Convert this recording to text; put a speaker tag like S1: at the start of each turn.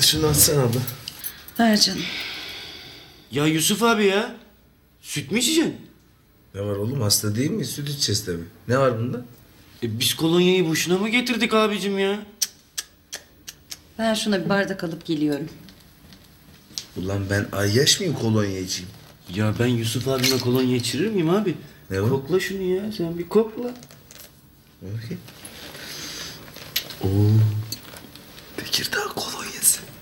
S1: Şunu açsana abla.
S2: Ver canım.
S3: Ya Yusuf abi ya. Süt mü içeceksin?
S1: Ne var oğlum hasta değil mi? Süt içeceğiz tabii. Ne var bunda?
S3: E, biz kolonyayı boşuna mı getirdik abicim ya?
S2: Ben şuna bir bardak alıp geliyorum.
S1: Ulan ben ayyaş mıyım kolonya içeyim?
S3: Ya ben Yusuf abime kolonya içirir miyim abi?
S1: Ne bu?
S3: Kokla şunu ya sen bir kokla.
S1: Bakayım. Oo. Tekirdağ kolonyası.